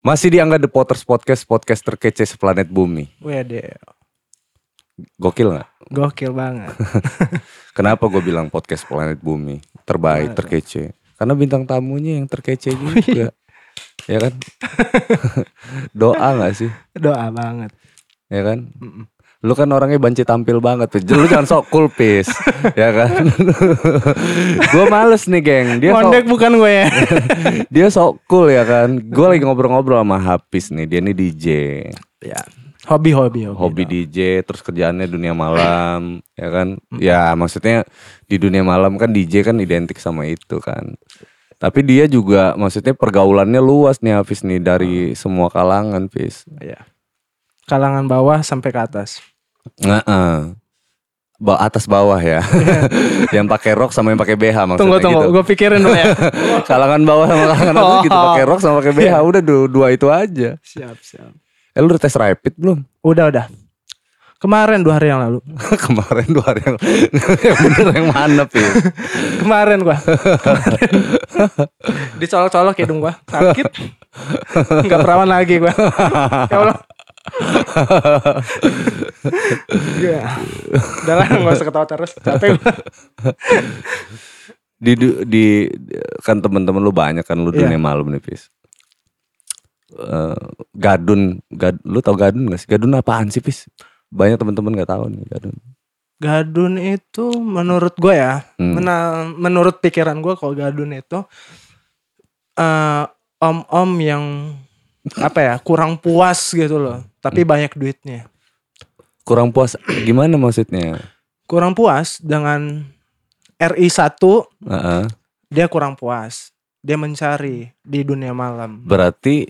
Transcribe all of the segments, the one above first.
Masih dianggap The Potters Podcast, podcast terkece seplanet bumi. Wede, Gokil nggak? gokil banget. Kenapa gue bilang podcast planet bumi terbaik, terkece? Karena bintang tamunya yang Oh, terkece iya. juga. ya kan? Doa nggak sih? Doa banget. Ya kan? Mm-mm. Lu kan orangnya banci tampil banget, Pis. Lu jangan sok cool, Pis. ya kan? gue males nih, geng. Dia sok Mondek bukan gue ya. dia sok cool ya kan. Gue lagi ngobrol-ngobrol sama Hafiz nih. Dia nih DJ, ya. Hobi hobi hobi. hobi DJ, terus kerjaannya dunia malam, ya kan. Ya maksudnya di dunia malam kan DJ kan identik sama itu kan. Tapi dia juga maksudnya pergaulannya luas nih Hafiz nih Ah. dari semua kalangan, Fis. Ya. Kalangan bawah sampai ke atas. Heeh. Ba- atas bawah ya. yang pakai rok sama yang pakai BH maksudnya Tunggu tunggu, gitu. gue pikirin dulu ya. Kalangan bawah sama kalangan atas gitu Oh. pakai rok sama pakai BH udah du- dua itu aja. siap siap. Eh lu udah tes rapid belum? Udah udah. Kemarin dua hari yang lalu. kemarin dua hari yang yang bener yang mana Pi? Kemarin gua. Kemarin. Dicolok-colok hidung gua. Sakit. Enggak perawan lagi gua. ya Allah. ya. Udah lah gak usah ketawa terus Capek gua. di, du- di kan teman-teman lu banyak kan Iya. lu dunia malam nih Pis. Eh, gadun, gad, lu tau gadun gak sih? Gadun apaan sih Pis? Banyak teman-teman gak tahu nih gadun. Gadun itu menurut gue ya, Hmm. mena- menurut pikiran gue kalau gadun itu eh, om-om yang apa ya kurang puas gitu loh, tapi Hmm. banyak duitnya. Kurang puas gimana maksudnya? Kurang puas dengan RI 1 Heeh. dia kurang puas, dia mencari di dunia malam. Berarti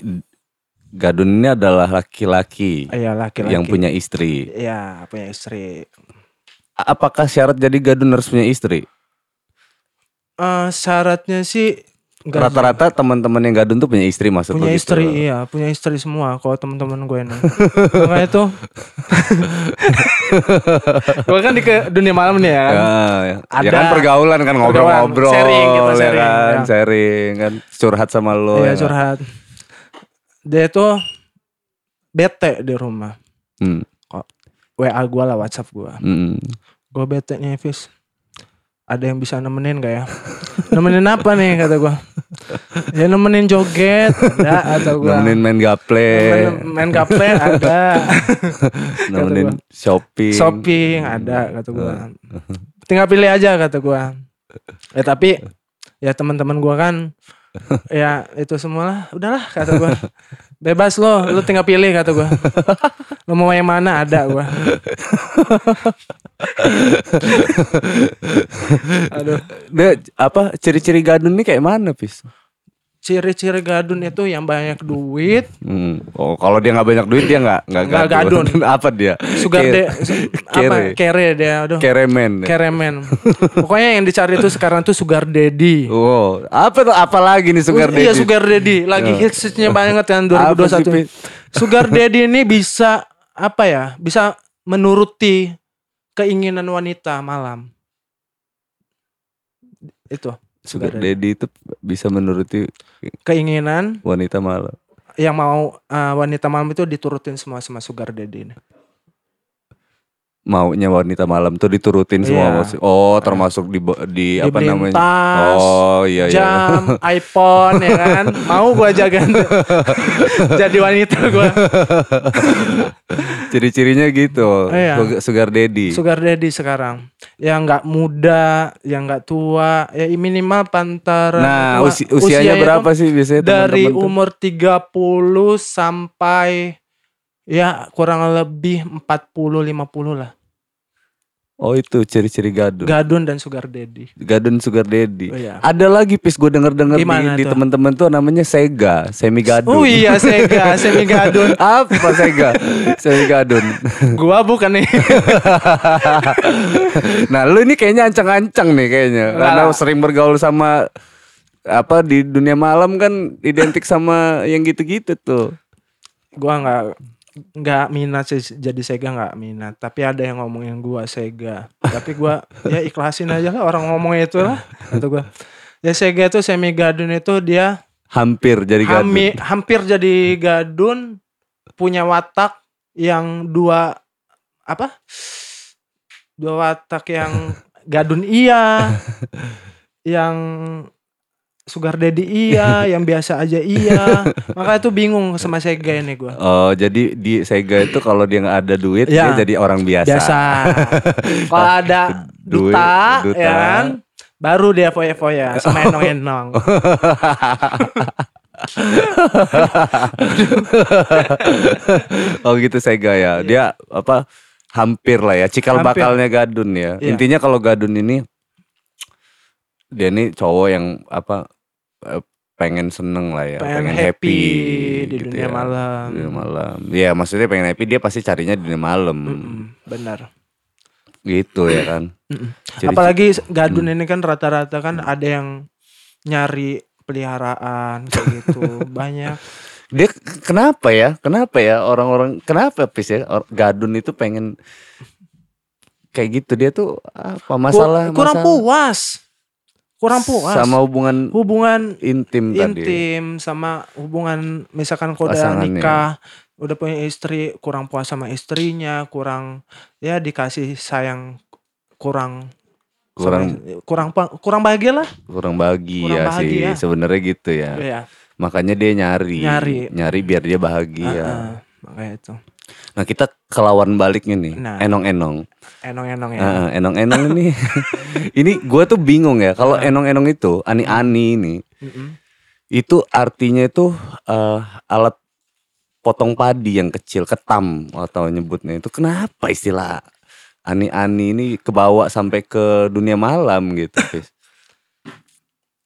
gadun ini adalah laki-laki Iya laki-laki. yang punya istri. Iya punya istri. A- Apakah syarat jadi gadun harus punya istri? Eh syaratnya sih nggak- Rata-rata teman-teman yang gadun tuh punya istri maksud lu punya gitu? istri iya punya istri semua kalau teman-teman gue ini makanya tuh gue kan di ke dunia malam nih ya kan Ya, ada ya Ada kan pergaulan kan ngobrol-ngobrol, sharing gitu, ya sharing, kan, ya. sharing kan curhat sama lo. iya ya kan? curhat dia tuh bete di rumah Hmm, wa gue lah whatsapp gue hmm. gue bete nih Fis ada yang bisa nemenin gak ya nemenin apa nih kata gue ya nemenin joget ada atau gue Nemenin main gaple, main gaple ada nemenin kata shopping. shopping ada kata gua tinggal pilih aja kata gua ya tapi ya teman-teman gua kan ya itu semualah udahlah kata gua bebas lo lo tinggal pilih kata gua lo mau yang mana ada gua aduh Dia, apa ciri-ciri gadun ini kayak mana, Pis? ciri-ciri gadun itu yang banyak duit Hmm. Oh, kalau dia nggak banyak duit dia nggak nggak Nggak gadun. apa dia? sugar Ke- de apa Kere. kere dia aduh Keremen. keremen pokoknya yang dicari itu sekarang tuh sugar daddy Wow, apa tuh apa lagi nih sugar Iya daddy? Sugar Daddy lagi hitsnya banget kan Apa sih, 2021. Pit? Sugar Daddy ini bisa apa ya? Bisa menuruti keinginan wanita malam. Itu Sugar daddy itu bisa menuruti keinginan wanita malam. yang mau eh, wanita malam itu diturutin semua sama Sugar Daddy ini. maunya wanita malam tuh diturutin semua Iya. maksud- oh termasuk di bo- di Iya, apa Dibeliin namanya tas, oh iya iya Jam, iPhone ya kan. Mau gua jaga jadi wanita gua. ciri-cirinya gitu Sugar- Iya. sugar daddy Sugar Daddy sekarang. Yang nggak muda, yang nggak tua, ya minimal pantaran. nah Wah, usi- usianya itu berapa sih biasanya Dari um- teman-teman tuh? umur 30 sampai ya kurang lebih 40 50 lah. oh itu ciri-ciri gadun Gadun dan Sugar Daddy. gadun sugar daddy Oh, iya. ada lagi pis gue denger-denger di, Gimana di tuh? teman-teman tuh namanya sega semi gadun Oh iya Sega, semi gadun. apa sega semi gadun Gua bukan nih. nah lu ini kayaknya ancang-ancang nih kayaknya karena sering bergaul sama apa di dunia malam kan identik sama yang gitu-gitu tuh Gua nggak nggak minat sih jadi Sega nggak minat tapi ada yang ngomongin gua Sega tapi gua ya ikhlasin aja lah orang ngomong itu lah kata gua ya Sega itu semi gadun itu dia hampir jadi Hami- gadun. hampir jadi gadun punya watak yang dua apa dua watak yang gadun iya yang sugar daddy iya yang biasa aja iya makanya tuh bingung sama Sega ini gue Oh, jadi di Sega itu kalau dia nggak ada duit Ya. dia jadi orang biasa. biasa kalau ada Duit, duta, duta. ya kan baru dia foya-foya sama enong-enong oh gitu Sega ya. Dia apa hampir lah ya cikal Iya. Hampir. bakalnya Gadun ya. Iya. Intinya kalau Gadun ini dia ini cowok yang apa eh, pengen seneng lah ya, pengen, pengen, happy, di gitu ya. dunia malam Di dunia malam. Ya maksudnya pengen happy dia pasti carinya di dunia malam. Mm-mm, benar Gitu ya kan. Mm-mm. Jadi- hmm. Apalagi gadun ini kan rata-rata kan ada yang nyari peliharaan kayak gitu banyak. dia k- kenapa ya? Kenapa ya orang-orang kenapa pis ya Or- Gadun itu pengen kayak gitu dia tuh apa masalah Ku- kurang masalah- puas, kurang puas. sama hubungan hubungan intim, tadi. intim sama hubungan misalkan kau udah Pasangannya. nikah, udah punya istri kurang puas sama istrinya, kurang ya dikasih sayang kurang kurang sama- kurang pa- kurang bahagia lah kurang bahagia, kurang sih bahagia. sebenarnya gitu ya. ya Makanya dia nyari Nyari. biar dia bahagia. Ah, ah, makanya itu Nah, kita kelawan baliknya nih. Nah. Enong-enong. enong-enong ya Ah, enong-enong ini. ini gua tuh bingung ya kalau enong-enong itu ani-ani ini Mm-mm. itu artinya itu eh, alat potong padi yang kecil ketam atau nyebutnya itu kenapa istilah ani-ani ini kebawa sampai ke dunia malam gitu Fis?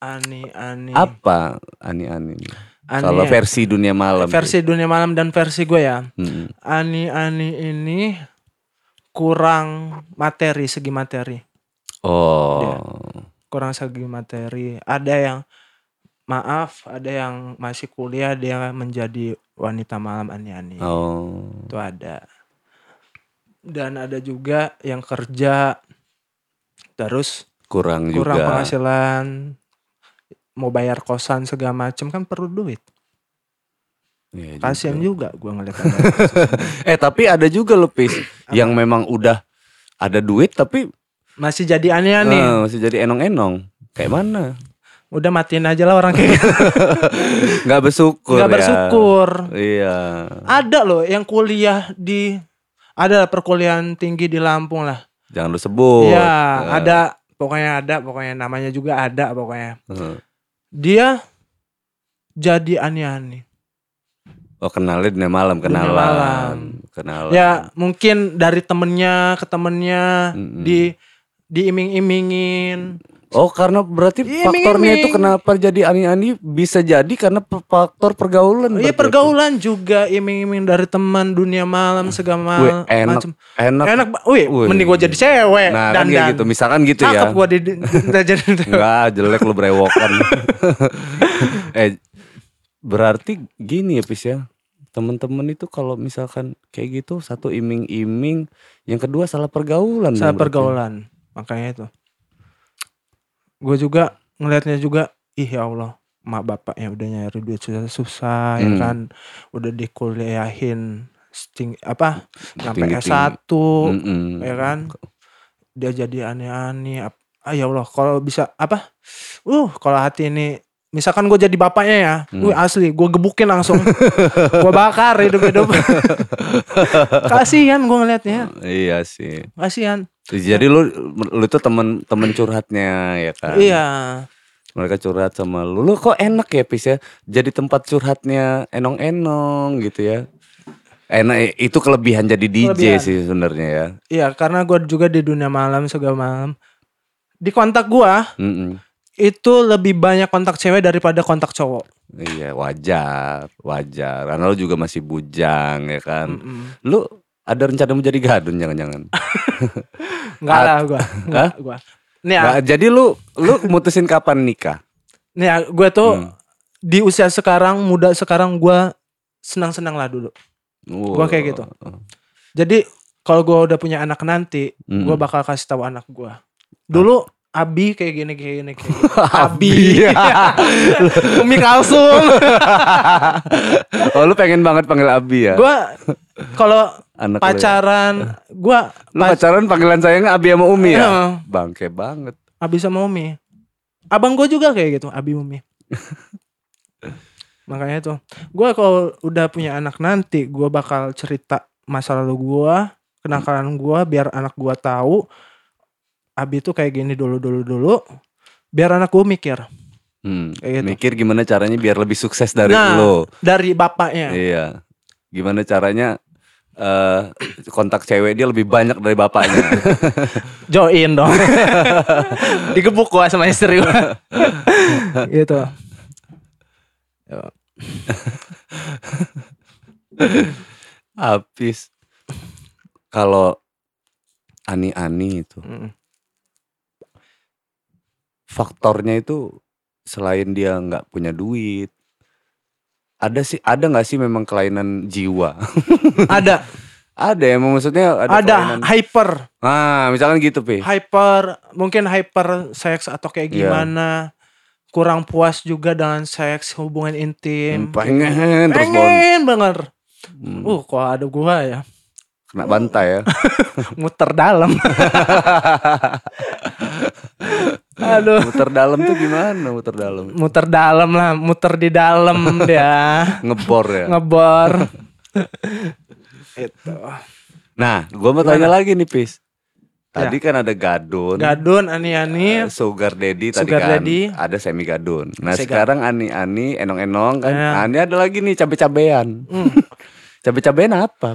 ani ani apa ani-ani ini? Hmm. Ani- ya? kalau versi dunia malam gitu. Hmm. versi dunia malam dan versi gue ya Fis. Mm-mm. ani ani ini kurang materi segi materi oh Iya. kurang segi materi ada yang maaf ada yang masih kuliah dia menjadi wanita malam ani ani oh itu ada dan ada juga yang kerja terus kurang, kurang juga penghasilan mau bayar kosan segala macem kan perlu duit Iya juga. kasian juga gue ngeliat ada- eh tapi ada juga loh Fis, yang memang udah ada duit tapi masih jadi ani ani eh, masih jadi enong-enong kayak mana udah matiin aja lah orang kayak gitu. nggak bersyukur nggak ya. bersyukur iya ada loh yang kuliah di ada lah perkuliahan tinggi di Lampung lah jangan lu sebut Iya eh. ada pokoknya ada pokoknya namanya juga ada pokoknya Heeh. dia jadi ani-ani oh kenalnya dunia malam Dunia kenalan malam. kenalan ya mungkin dari temennya ke temennya Mm-mm. di diiming-imingin oh karena berarti Iming-iming. faktornya itu kenapa jadi ani-ani bisa jadi karena pe- faktor pergaulan Iya berarti. pergaulan juga iming-iming dari teman dunia malam Wih, segala enak, macam enak enak ba- wih, Wih. mending gue jadi cewek nah kan Kan, eh, dan kayak gitu misalkan gitu cakep ya gue di, di- di- jadi Enggak jelek lu berewokan eh berarti gini ya pis ya temen-temen itu kalau misalkan kayak gitu satu iming-iming yang kedua salah pergaulan dong Iya, salah berarti. pergaulan makanya itu gue juga ngelihatnya juga ih ya Allah mak bapaknya udah nyari duit susah-susah ya Hmm. kan udah dikuliahin seting apa sampai Tinggi-tinggi. S1 Mm-mm. ya kan dia jadi aneh-aneh ap- ah ya Allah kalau bisa apa uh kalau hati ini misalkan gue jadi bapaknya ya Hmm. wih asli gue gebukin langsung gue bakar hidup-hidup kasihan gue ngelihatnya Iya sih. kasihan Jadi lu lu tuh temen-temen curhatnya ya kan. iya Mereka curhat sama lu. Lu kok enak ya Pis ya? Jadi tempat curhatnya enong-enong gitu ya. Enak itu kelebihan jadi DJ Kelebihan. sih sebenarnya ya. iya karena gue juga di dunia malam segala malam di kontak gue Mm-mm. itu lebih banyak kontak cewek daripada kontak cowok Iya, wajar, wajar. Karena lu juga masih bujang ya kan. Mm-mm. Lu ada rencana mau jadi gadun jangan-jangan. nggak lah gue nggak gue nih ya Nah, jadi lu lu mutusin kapan nikah? Hmm. nih ya gue tuh di usia sekarang muda sekarang gue senang-senang lah dulu Gua kayak gitu. Jadi kalau gue udah punya anak nanti, Mm. gue bakal kasih tahu anak gue. Dulu Abi kayak gini kayak gini kayak gini. Abi. Umi kalsum. oh lu pengen banget panggil Abi ya? gua kalau Anak lu ya. pacaran gua eh, Lu pacaran panggilan sayang Abi sama Umi ya? Heeh. Bangke banget. Abi sama Umi. Abang gue juga kayak gitu, Abi Umi. Makanya tuh, gue kalau udah punya anak nanti, gue bakal cerita masa lalu gue, kenakalan gue, biar anak gue tahu Abi tuh kayak gini dulu dulu dulu, biar anak gue mikir Hmm. Kayak gitu. Mikir gimana caranya biar lebih sukses dari Nah. lu. dari bapaknya. Iya. Gimana caranya eh kontak cewek dia lebih banyak dari bapaknya. Join dong. Digebuk gue sama istri gue. gitu. Habis. Kalau ani-ani itu Mm. faktornya itu selain dia nggak punya duit ada sih ada nggak sih memang kelainan jiwa Ada, ada ya maksudnya ada, ada kelainan hyper. nah misalkan gitu pi hyper mungkin hyper seks atau kayak Iya. gimana kurang puas juga dengan seks hubungan intim Hmm. pengen terus bon pengen banget Hmm, uh kalau ada gua ya kena bantai ya muter dalam aduh muter dalam tuh gimana muter dalam muter dalam lah muter di dalam dia ngebor ya ngebor itu nah gue mau tanya lagi nih pis tadi kan ada gadun gadun ani ani eh, sugar daddy tadi Sugar kan daddy. ada semi gadun nah Sega. sekarang ani ani enong enong kan Iya. ani ada lagi nih cabe cabean Hmm. cabe cabean apa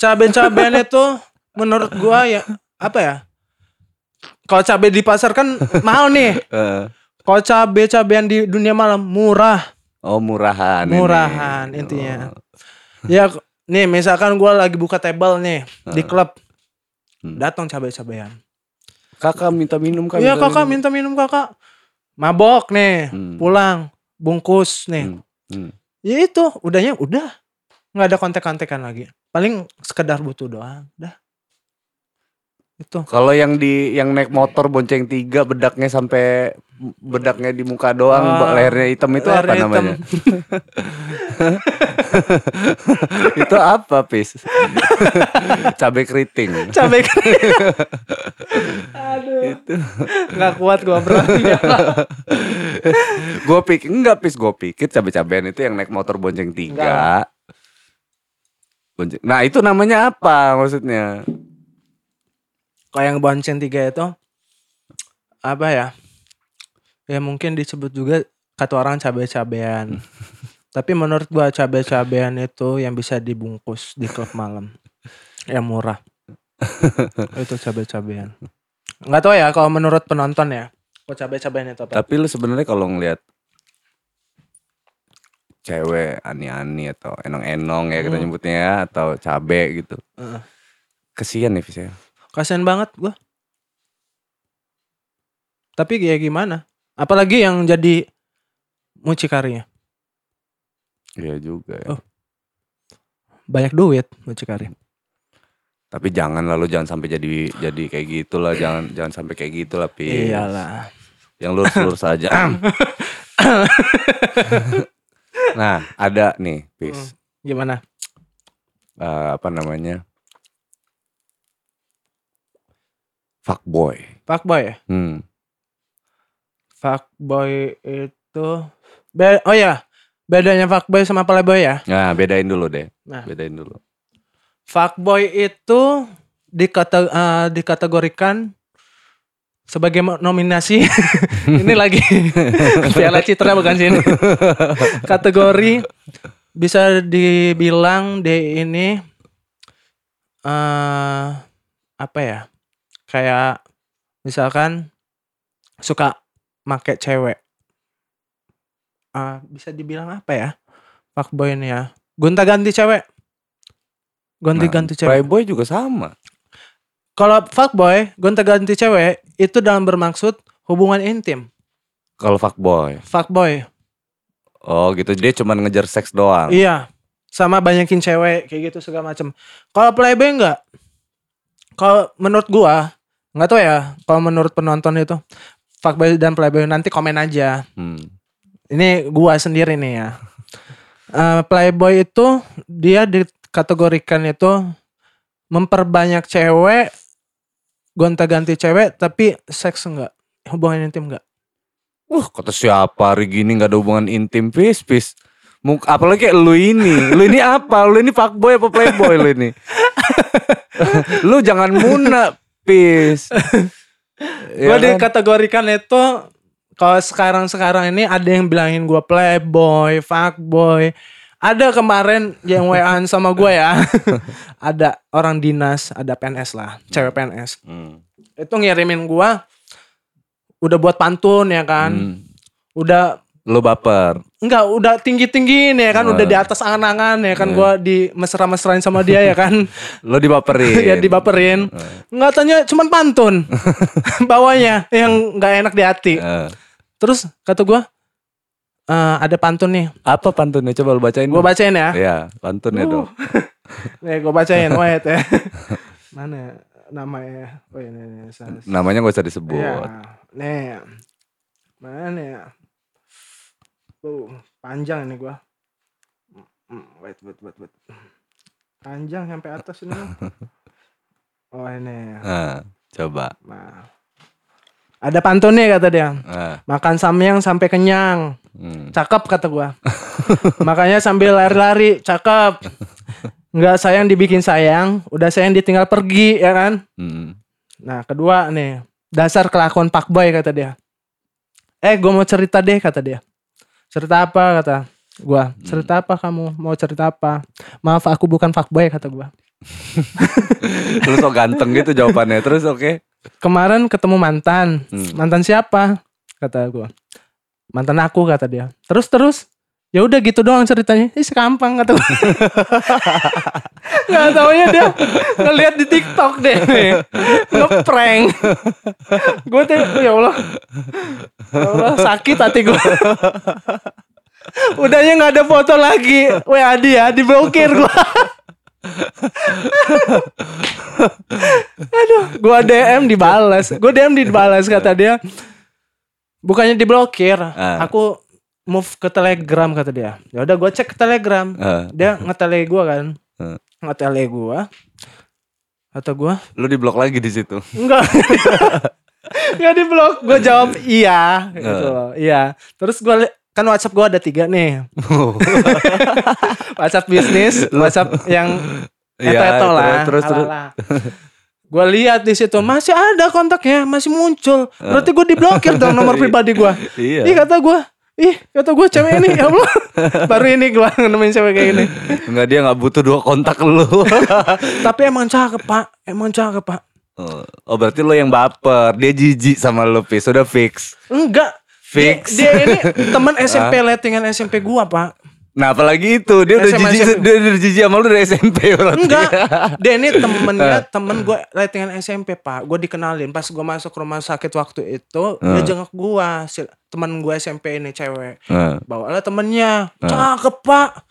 caben-caben itu menurut gua ya apa ya kalau cabe di pasar kan mahal nih Eh, Kalau cabe-cabean di dunia malam murah, oh murahan ini. Oh. murahan intinya. Ya k- nih misalkan gua lagi buka table nih di klub. Hmm. Datang cabe-cabean. kakak minta minum kakak Iya kakak minta minum kakak. Mabok nih, Hmm. pulang, bungkus nih. Hmm. Ya itu, udahnya udah. nggak ada kontek-kontekan lagi. Paling sekedar butuh doang, dah. Itu. Kalau yang di yang naik motor bonceng tiga bedaknya sampai bedaknya di muka doang, Ah, lehernya hitam itu apa lehernya hitam. namanya? itu apa, Pis? Cabe keriting. Cabe kan. Aduh. Nggak kuat gua bro. Gue pikir enggak, Pis, gue pikir cabe-cabean itu yang naik motor bonceng tiga. Bonceng. Nah, itu namanya apa maksudnya? Kalau yang bonceng tiga itu apa ya? Ya mungkin disebut juga kata orang cabai-cabean. Tapi menurut gua cabai-cabean itu yang bisa dibungkus di klub malam. Yang murah. itu cabai-cabean. Nggak tahu ya kalau menurut penonton ya. Kalau cabai-cabean itu apa? Tapi lu sebenarnya kalau ngelihat cewek ani-ani atau enong-enong ya kita Hmm. Ah. nyebutnya ya, atau cabe gitu. Heeh. Kesian ya, Pis ya. Kasian banget gua. Tapi ya gimana? Apalagi yang jadi mucikarinya. Iya juga ya. Oh. Banyak duit mucikari. Tapi jangan lalu jangan sampai jadi jadi kayak gitulah, jangan jangan sampai kayak gitulah, Pi. Iyalah. Yang lurus-lurus aja. nah, ada nih, Pis. Gimana? Hmm. Eh, apa namanya? Fuckboy. Fuckboy ya? Hmm. Fuckboy itu Be- oh ya, bedanya fuckboy sama playboy ya. Nah, bedain dulu deh. Nah. Bedain dulu. Fuckboy itu dikata eh, dikategorikan sebagai mo- nominasi. ini lagi Piala Citra bukan sini. Kategori bisa dibilang dia ini eh apa ya? Kayak misalkan suka make cewek. Eh, bisa dibilang apa ya? Fuckboy ini ya. Gonta-ganti cewek. Gonti-ganti Nah, cewek. Playboy juga sama. Kalau fuckboy, gonta-ganti cewek itu dalam bermaksud hubungan intim. Kalau fuckboy. Fuckboy. Oh gitu. Dia cuma ngejar seks doang. Iya. Sama banyakin cewek kayak gitu segala macem. Kalau playboy enggak. Kalau menurut gua, nggak tahu ya kalau menurut penonton itu fuckboy dan playboy nanti komen aja Hmm. ini gua sendiri nih ya Eh, playboy itu dia dikategorikan itu memperbanyak cewek gonta-ganti cewek tapi seks enggak hubungan intim enggak Wah kata siapa hari gini gak ada hubungan intim pis pis. Mung- apalagi kayak lu ini, lu ini apa? Lu ini fuckboy apa playboy lu ini? lu jangan muna pis. Gue Ya kan? dikategorikan itu kalau sekarang-sekarang ini ada yang bilangin gue playboy, fuckboy. Ada kemarin yang WA-an sama gue ya. ada orang dinas, ada PNS lah, cewek PNS. Hmm. Itu ngirimin gue udah buat pantun ya kan. Hmm. Udah Lu baper. enggak udah tinggi-tinggi nih ya kan, udah Hmm. di atas angan-angan ya Nah. kan gue di mesra-mesrain sama dia ya kan. Lu dibaperin. ya dibaperin. Nah. Enggak tanya cuman pantun. Bawanya yang enggak enak di hati. Eh, Terus kata gua "Eh, ada pantun nih. apa pantunnya coba lu bacain? Gue bacain ya. Ya, pantunnya dong. Nih gue bacain. Wait ya. Mana namanya? Oh ini, ini, salah. Namanya gak usah disebut. Iya. Nih. Mana ya? Tuh, panjang ini gua. Mm, Wait, wait, wait, wait. Panjang sampai atas ini. Oh ini. Eh, coba. Nah. Ada pantun nih kata dia. Eh, Makan samyang sampai kenyang. hmm. cakep kata gua makanya sambil lari-lari cakep nggak sayang dibikin sayang udah sayang ditinggal pergi ya kan Hmm. nah kedua nih dasar kelakuan pak boy kata dia eh gua mau cerita deh kata dia cerita apa kata gua cerita apa kamu mau cerita apa maaf aku bukan pak boy kata gua Lu sok ganteng gitu jawabannya. Terus oke. kemarin ketemu mantan Hmm. mantan siapa kata gua mantan aku kata dia terus terus ya udah gitu doang ceritanya ih sekampang kata gua nggak taunya dia ngeliat di TikTok deh ngeprank gue tuh ya Allah ya Allah sakit hati gue udahnya nggak ada foto lagi weh Adi ya diblokir gue aduh gue DM dibalas gue DM dibalas kata dia bukannya diblokir Ah. aku move ke Telegram kata dia ya udah gue cek ke Telegram Eh, dia ngetele gue kan Hmm. ngetele gue kata gue lu diblok lagi di situ. enggak enggak di blok gue jawab iya gitu loh iya terus gue kan WhatsApp gue ada tiga nih WhatsApp bisnis WhatsApp yang eto Iya, eto lah terus, terus, terus. gue lihat di situ masih ada kontaknya masih muncul berarti gue diblokir dong nomor pribadi gue Ah. Iya. ih kata gue ih kata gue cewek ini ya Allah baru ini gue nemuin cewek kayak gini Enggak dia nggak butuh dua kontak lu. Tapi emang cakep pak, emang cakep pak. oh berarti lu yang baper. Dia jijik sama lu Pis. Udah fix. Enggak. Fix. Ah. Dia, dia ini teman SMP lettingan SMP gua pak. Nah apalagi itu. Dia udah SMA. jijik. Dia udah jijik sama lu dari SMP berarti. Enggak. Dia ini temennya temen gua lettingan SMP pak. Gua dikenalin pas gua masuk rumah sakit waktu itu dia jenguk gua si teman gua SMP ini cewek. Heeh. Bawalah temennya, cakep pak.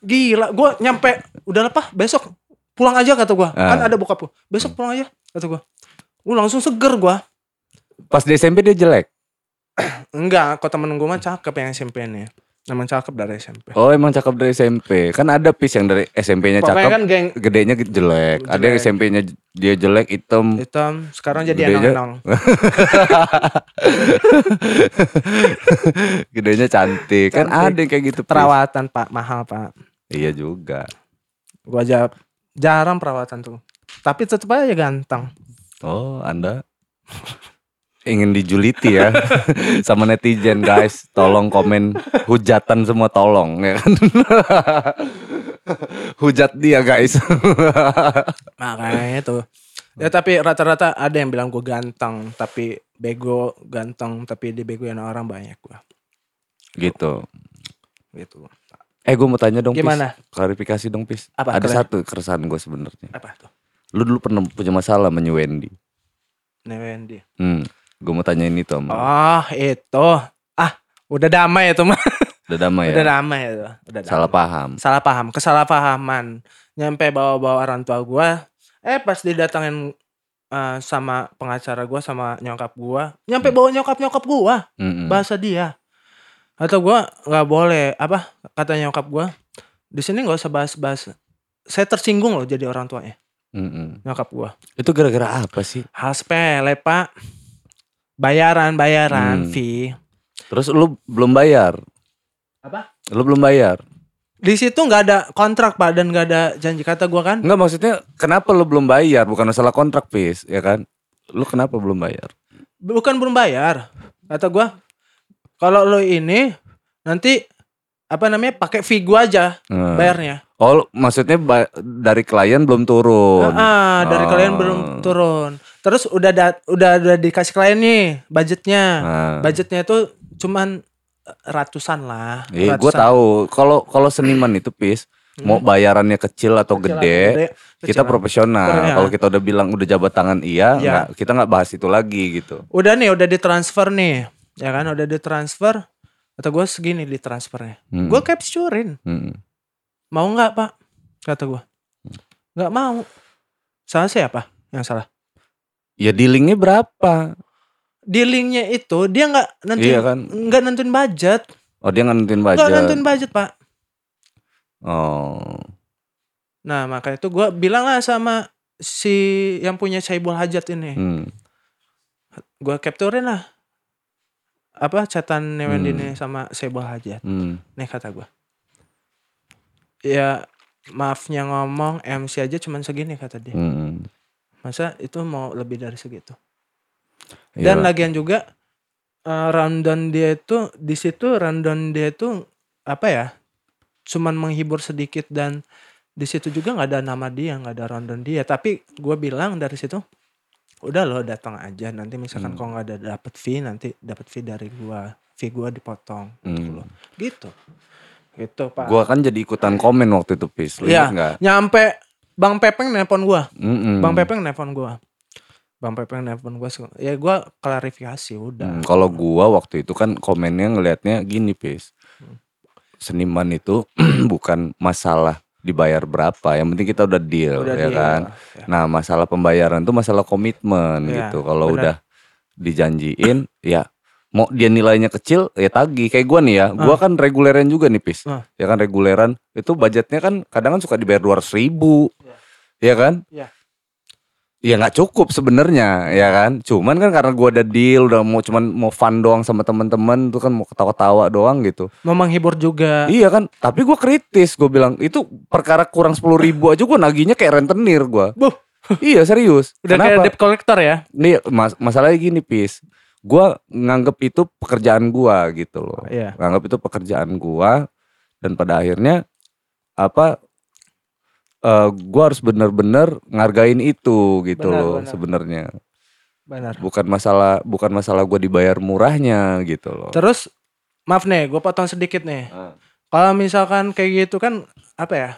Gila, gua nyampe udah lah pak besok pulang aja kata gua. Kan ada bokap gua. Besok pulang aja kata gua. Gua langsung seger gua. Pas di SMP dia jelek. Enggak, kok temen gue mah cakep yang SMP-nya. Emang cakep dari SMP. Oh emang cakep dari SMP. Kan ada Pis yang dari SMP-nya Pokoknya cakep. kan geng Gedenya gitu jelek. Ada yang Jelek. SMP-nya j- dia jelek hitam. hitam sekarang jadi Gedenya- enong-enong. Gedenya cantik. Kan Cantik. ada yang kayak gitu. Pis. Perawatan pak, mahal pak. Iya juga. Gue aja jarang perawatan tuh. Tapi tetep aja ganteng. Oh, Anda ingin dijuliti ya sama netizen guys. Tolong komen hujatan semua tolong ya kan. Hujat dia guys. Makanya tuh. Ya tapi rata-rata ada yang bilang gue ganteng. Tapi bego ganteng. Tapi dibegoin orang banyak gue. gitu. Gitu. Eh gue mau tanya dong Gimana? Pis. Klarifikasi dong Pis. Apa? Ada Klari- satu keresahan gue sebenarnya. Apa tuh? Lu dulu pernah punya masalah sama New Wendy. Nih Wendy. Hmm. Gue mau tanya ini tuh sama. lu. Oh itu. Ah udah damai itu mah. Udah damai Udah ya. damai itu. Udah damai. Salah paham. salah paham, kesalahpahaman. Nyampe bawa-bawa orang tua gua, eh pas didatangin eh, sama pengacara gua sama nyokap gua Hmm. nyampe bawa nyokap nyokap gua Mm-mm. bahasa dia atau gua nggak boleh apa kata nyokap gua di sini nggak usah bahas bahas saya tersinggung loh jadi orang tuanya Mm-mm. nyokap gua Itu gara-gara apa sih? hal sepele pak bayaran bayaran Hmm. fee Terus lu belum bayar? Apa? Lu belum bayar? di situ nggak ada kontrak pak dan nggak ada janji kata gua kan Enggak maksudnya kenapa lu belum bayar? Bukan masalah kontrak, Pis, ya kan? Lu kenapa belum bayar? bukan belum bayar kata gua kalau lo ini nanti apa namanya pakai fee gua aja Hmm. bayarnya Oh, lu- maksudnya ba- dari klien belum turun. Ah, dari kalian Ah. belum turun terus udah dat- udah udah dikasih klien nih budgetnya Nah. budgetnya itu cuman eh, ratusan lah. Eh, gue Ratusan. Hmm. tahu. Kalau kalau seniman itu pis, mau bayarannya kecil atau Kecil lah, gede, kecil kita lah. profesional. Iya. Kalau kita udah bilang udah jabat tangan iya, Iya. nggak- kita nggak bahas itu lagi gitu. Udah nih, udah ditransfer nih, ya kan? Udah ditransfer atau gue segini ditransfernya. Hmm. Gue capturein, Hmm. mau nggak pak? Kata gue, nggak mau. Salah siapa? Yang salah? Ya dealingnya berapa? Di linknya itu dia nggak nentuin, Iya kan? nggak nentuin budget, Oh dia nggak nentuin nggak budget. nentuin budget pak. Oh. Nah makanya itu gue bilang lah sama si yang punya Saibul Hajat ini. Hmm. gue capturein lah apa catatan Newen Hmm. Dini sama Sebo Hajat Hmm. nih kata gue ya maafnya ngomong MC aja cuman segini kata dia Hmm. masa itu mau lebih dari segitu Iya. dan lagian juga eh, rundown dia itu di situ rundown dia itu apa ya cuman menghibur sedikit dan di situ juga nggak ada nama dia nggak ada rundown dia tapi gue bilang dari situ udah lo datang aja nanti Hmm. misalkan kalau nggak ada dapet fee nanti dapet fee dari gue fee gue dipotong Hmm. lo. gitu gitu pak Gua kan jadi ikutan komen waktu itu pis. Lu ingat Iya. nggak? nyampe bang Pepeng nelpon gue Mm-mm. bang Pepeng nelpon gue bang Pepeng nelpon gue ya gue klarifikasi udah Hmm, kalau gua waktu itu kan komennya ngelihatnya gini, Pis. Seniman itu bukan masalah dibayar berapa, yang penting kita udah deal, udah ya deal. kan. Ya. Nah, masalah pembayaran itu masalah komitmen Iya, gitu. Kalau benar. udah dijanjiin, ya mau dia nilainya kecil ya tagih kayak gua nih ya gua kan reguleran juga nih pis Ah. ya kan reguleran itu budgetnya kan kadang kan suka dibayar dua ribu ya kan Iya. ya nggak cukup sebenarnya ya kan cuman kan karena gua ada deal udah mau cuman mau fun doang sama temen-temen tuh kan mau ketawa-tawa doang gitu mau menghibur juga iya kan tapi gua kritis gua bilang itu perkara kurang sepuluh ribu aja gua naginya kayak rentenir gua Buh. iya serius udah kayak debt collector ya Nih mas masalahnya gini pis, gua nganggep itu pekerjaan gua gitu loh, iya nganggep itu pekerjaan gua dan pada akhirnya apa, eh gua harus bener-bener ngargain itu gitu Benar, loh benar. sebenarnya, benar bukan masalah bukan masalah gua dibayar murahnya gitu loh. terus maaf nih gue potong sedikit nih Ah. kalau misalkan kayak gitu kan apa ya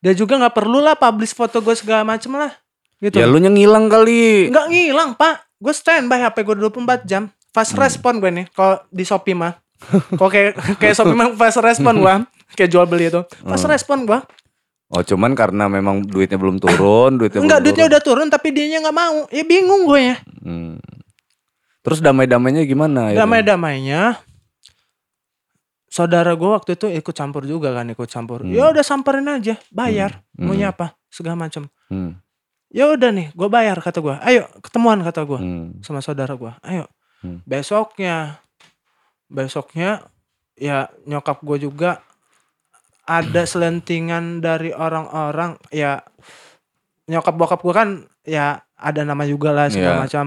dia juga nggak perlu lah publish foto gue segala macem lah gitu Ya lu yang ngilang kali. nggak ngilang pak gue standby hp gue 24 jam fast Hmm. respon gue nih kalau di shopee mah kok kayak kayak shopee mah fast respon gue kayak jual beli itu Hmm. fast respon gue Oh cuman karena memang duitnya belum turun, duitnya enggak belum duitnya turun. udah turun tapi dianya nggak mau ya bingung gue ya Hmm. Terus damai-damainya gimana? ya? damai-damainya saudara gue waktu itu ikut campur juga kan ikut campur Hmm. ya udah samperin aja bayar Hmm. maunya apa segala macam Hmm. ya udah nih gue bayar kata gue ayo ketemuan kata gue Hmm. sama saudara gue ayo Hmm. besoknya besoknya ya nyokap gue juga ada selentingan dari orang-orang ya nyokap bokap gue kan ya ada nama juga lah Iya. segala Hmm. macam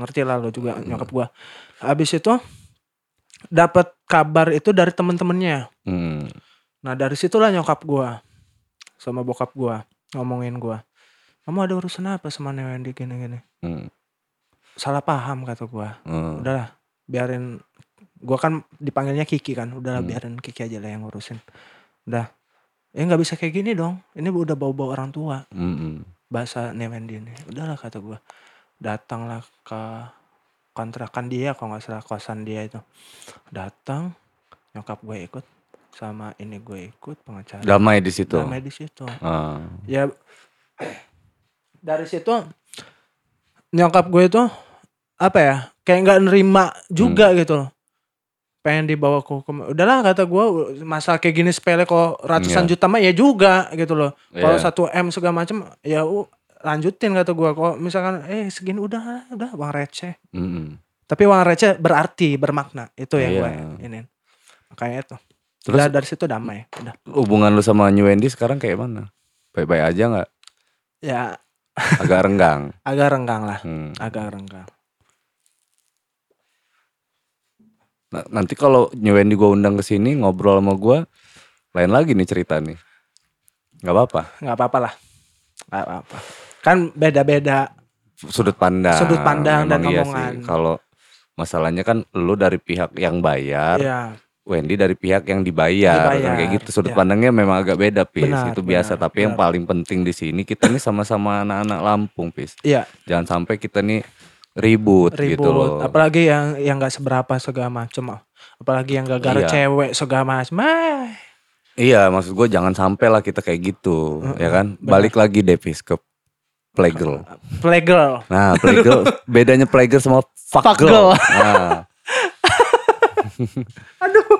ngerti lah lo juga nyokap gue habis itu dapat kabar itu dari temen-temennya Hmm. nah dari situlah nyokap gue sama bokap gue ngomongin gue kamu ada urusan apa sama Newendi gini-gini Hmm. salah paham kata gue Hmm. udahlah biarin gua kan dipanggilnya Kiki kan udahlah Hmm. biarin Kiki aja lah yang ngurusin udah ya nggak bisa kayak gini dong ini udah bawa bawa orang tua Mm-mm. bahasa Nemendi ini udahlah kata gua datanglah ke kontrakan dia kalau nggak salah kosan dia itu datang nyokap gue ikut sama ini gue ikut pengacara Damai di situ. damai di situ Ah. ya dari situ nyokap gue itu apa ya kayak nggak nerima juga Hmm. gitu loh pengen dibawa ke hukum udahlah kata gue masalah kayak gini sepele kok ratusan Iya. juta mah ya juga gitu loh kalau Iya. satu m segala macem ya u- lanjutin kata gue kok misalkan eh segini udah udah uang receh Mm-mm. tapi uang receh berarti bermakna itu yang Iya. gue ini makanya itu Terus- udah dari situ damai udah Hubungan lu sama New Wendy sekarang kayak mana? Baik-baik aja nggak? ya Agak renggang. agak renggang lah Hmm. agak renggang Nah, nanti kalau New Wendy gue undang ke sini ngobrol sama gue, lain lagi nih cerita nih. Gak apa-apa. nggak apa-apa lah nggak apa-apa kan beda-beda Sudut pandang. Sudut pandang dan Emang iya omongan. sih. Kalau masalahnya kan lu dari pihak yang bayar, ya Wendy dari pihak yang dibayar, Dibayar, kayak gitu sudut ya. pandangnya memang agak beda pis Benar, itu biasa benar, tapi yang benar. paling penting di sini kita nih sama-sama anak-anak Lampung pis iya jangan sampai kita nih ribut, ribut gitu loh apalagi yang yang nggak seberapa segala macem ah. apalagi yang gara-gara Iya. cewek segala macem Ah, iya maksud gue jangan sampai lah kita kayak gitu ya kan benar. balik lagi deh pis ke playgirl playgirl nah playgirl bedanya playgirl sama Fuckgirl. fuckgirl nah. aduh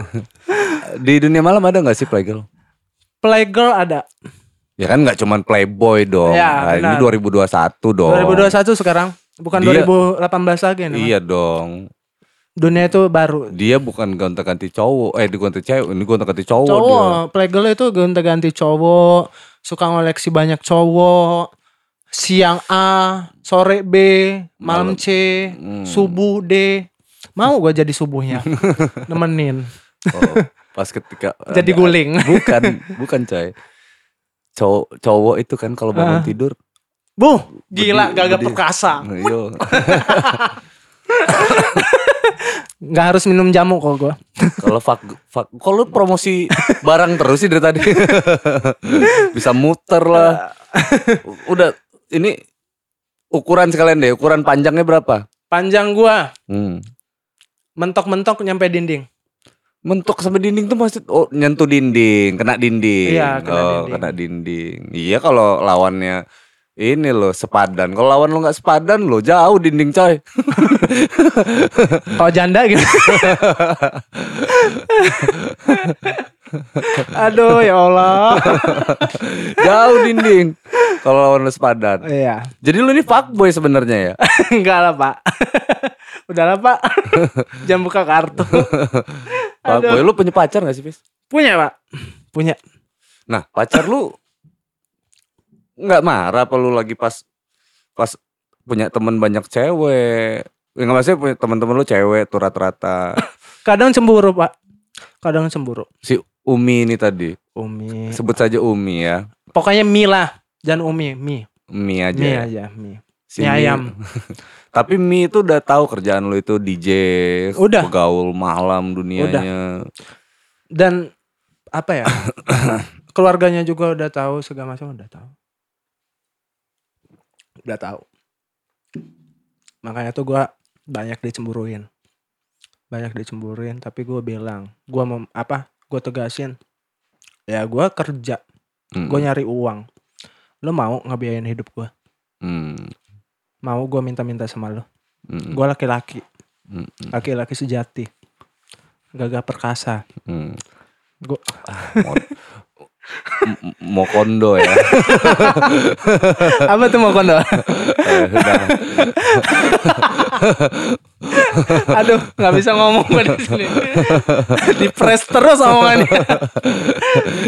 di dunia malam ada nggak sih playgirl playgirl ada Ya kan nggak cuman playboy dong. Ya, Nah, ini benar. 2021 dong. 2021 sekarang bukan Dia- 2018 lagi nih Iya dong. dunia itu baru Dia bukan gonta-ganti cowok, eh di gonta cewek, ini gonta-ganti cowok, cowok playgirl itu gonta-ganti cowok suka ngoleksi banyak cowok siang A sore B malam C Hmm. subuh D mau gua jadi subuhnya nemenin dia. Oh, pas ketika jadi guling Bukan, bukan coy. Cowok cowok itu kan kalau bangun Ah. tidur buh berdiri- gila gagap berdiri. perkasa Iya. nggak harus minum jamu kok gue Kalau fuck, fuck kalau lu promosi barang terus sih dari tadi. Bisa muter lah. Udah ini ukuran sekalian deh, ukuran panjangnya berapa? panjang gue Hmm. mentok-mentok nyampe dinding Mentok sama dinding tuh maksud oh nyentuh dinding, kena dinding. Iya, kena oh, dinding. kena dinding. Iya kalau lawannya ini loh sepadan. Kalau lawan lo nggak sepadan lo jauh dinding coy. kalau janda gitu aduh ya allah jauh dinding. Kalau lawan lo sepadan. iya Jadi lu ini fuckboy sebenarnya ya. enggak lah pak udah lah pak jam buka kartu fuckboy lu punya pacar gak sih, Pis? punya pak punya Nah, pacar lu nggak marah apa lu lagi pas pas punya teman banyak cewek. Enggak maksudnya punya teman-teman lu cewek tuh rata-rata. kadang cemburu pak kadang cemburu si Umi ini tadi. umi Sebut saja Umi ya. pokoknya mi lah jangan umi mi Mie aja. mi ya. aja mi Si mie Mie. ayam. Tapi Mie itu udah tahu kerjaan lu itu DJ, Udah. pegaul malam dunianya. dan apa ya keluarganya juga udah tahu segala macam udah tahu udah tahu makanya tuh gua banyak dicemburuin banyak dicemburuin tapi gua bilang gua mau apa gue tegasin ya gua kerja Hmm, gue nyari uang lo mau ngebiayain hidup gua hmm, mau gua minta-minta sama lo hmm, gua laki-laki hmm, laki-laki sejati gagah perkasa hmm. Gua- Mau- M- mau kondo ya. apa tuh mau kondo Eh, udah. Aduh, nggak bisa ngomong gue di sini. Dipres terus omongannya.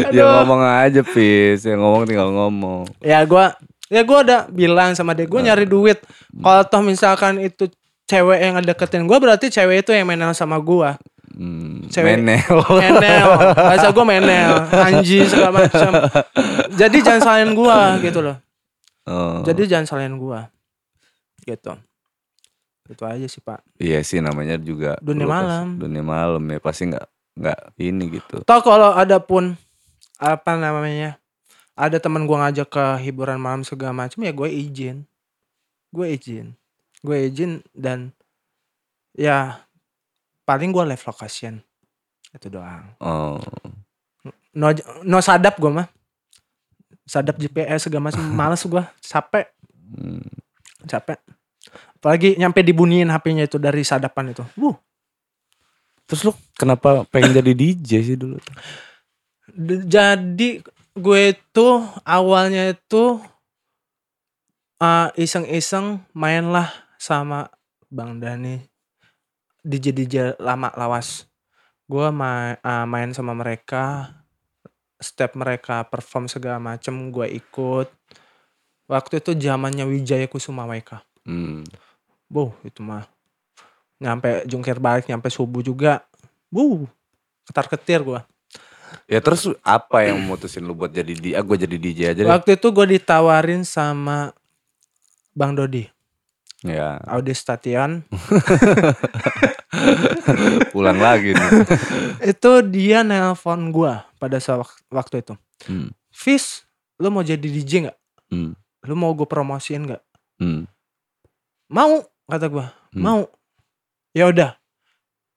ya Aduh. ngomong aja pis, ya ngomong tinggal ngomong. Ya gua ya gua udah bilang sama dia, Eh. gue nyari duit. Kalau toh misalkan itu cewek yang ngedeketin gue berarti cewek itu yang menel sama gua. Hmm, Cewek- menel. Menel, bahasa gua menel, anji segala macam. Jadi jangan salin gua gitu loh. Oh, Jadi jangan salin gua. Gitu. Itu aja sih, Pak. iya sih namanya juga Dunia lu pasti- malam. Dunia malam ya pasti nggak nggak ini gitu. Toh kalau ada pun apa namanya? Ada teman gua ngajak ke hiburan malam segala macam ya gue izin. Gue izin. Gue izin dan ya paling gua live location. Itu doang. Oh. No no sadap gua mah. Sadap GPS segala macam males gua, capek, Hmm. capek. Apalagi nyampe dibunyiin HP-nya itu dari sadapan itu. Wuh, Terus lu kenapa pengen jadi DJ sih dulu? D- jadi gue itu awalnya itu uh, iseng-iseng mainlah sama Bang Dani DJ DJ lama lawas. Gue ma- uh, main sama mereka, step mereka perform segala macem gue ikut. Waktu itu zamannya Wijaya Kusuma Waika. Hmm. Wow, itu mah. Nyampe jungkir balik, nyampe subuh juga. Wow, ketar-ketir gue. Ya terus apa yang memutusin lu buat jadi DJ? Ah, gue jadi DJ aja deh. Waktu itu gue ditawarin sama Bang Dodi, Ya, Audi Station. pulang lagi nih. Hmm. itu dia nelpon gue pada saat wak- waktu itu. Hmm, Fis, lu mau jadi DJ nggak? hmm, Lu mau gue promosiin nggak? hmm. Mau, kata gue. Hmm. Mau. Ya udah.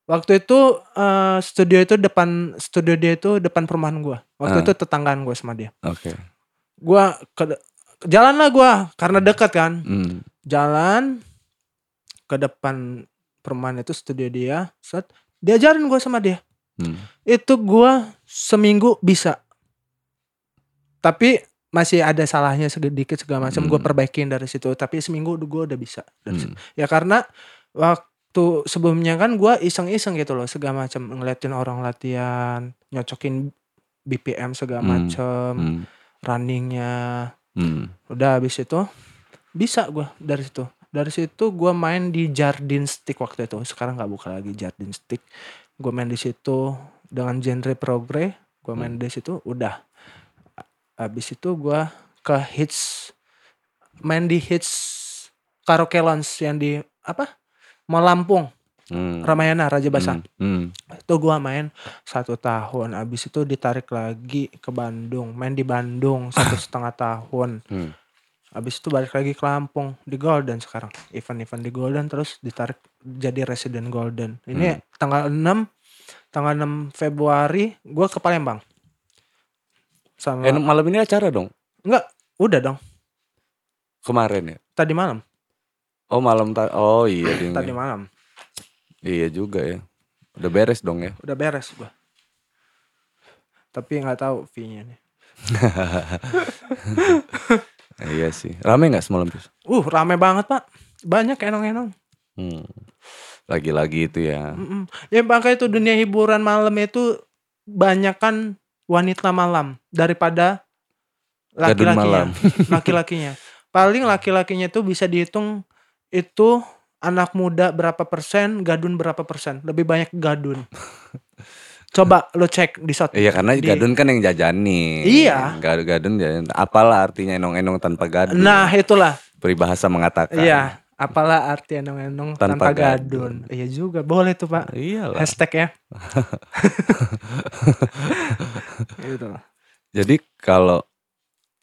Waktu itu eh, studio itu depan studio dia itu depan perumahan gue. Waktu Ah. itu tetanggaan gue sama dia. Oke. Gue ke jalan lah gue karena dekat kan. Hmm, jalan ke depan perumahan itu studio dia set diajarin gue sama dia hmm. itu gue seminggu bisa tapi masih ada salahnya sedikit segala macam gue Hmm. perbaikin dari situ tapi seminggu gue udah bisa dari hmm. situ. ya karena waktu sebelumnya kan gue iseng-iseng gitu loh segala macam ngeliatin orang latihan nyocokin BPM segala Hmm. macam Hmm, runningnya hmm. Udah habis itu bisa gua dari situ. Dari situ gua main di Jardin Stick waktu itu. Sekarang nggak buka lagi Jardin Stick. Gua main di situ dengan genre progre. Gua main Hmm. di situ udah. Habis itu gua ke hits main di hits karaoke lounge yang di apa? Mau Lampung, Hmm, Ramayana, Raja Basah. hmm, Itu gua main satu tahun. Habis itu ditarik lagi ke Bandung. Main di Bandung satu setengah tahun. hmm. Habis itu balik lagi ke Lampung di Golden sekarang. Event-event di Golden terus ditarik jadi resident Golden. Ini tanggal 6 tanggal 6 Februari gua ke Palembang. Eh, Sama malam ini acara dong? enggak, udah dong. Kemarin ya? Tadi malam, Oh malam ta- Oh iya ding. tadi malam Iya juga ya. Udah beres dong ya. udah beres gua. Tapi nggak tahu fee-nya nih. Iya sih. Rame nggak semalam Pis? Uh, rame banget, Pak. Banyak enong-enong. Hmm. Lagi-lagi itu ya. Mm-mm. Ya makanya itu dunia hiburan malam itu banyakkan wanita malam daripada Gadun malam. laki-lakinya. Laki-lakinya. Paling laki-lakinya itu bisa dihitung itu anak muda berapa persen, gadun berapa persen. Lebih banyak gadun. Coba lo cek di satu. Iya karena Di- gadun kan yang jajanin. Iya. Gadun, gadun jajan. Apalah artinya enong-enong tanpa gadun. Nah itulah. Peribahasa mengatakan. Iya. Apalah arti enong-enong Kan. Tanpa tanpa, gadun. Iya juga. Boleh tuh pak. Iyalah. Hashtag ya. gitu lah. Jadi kalau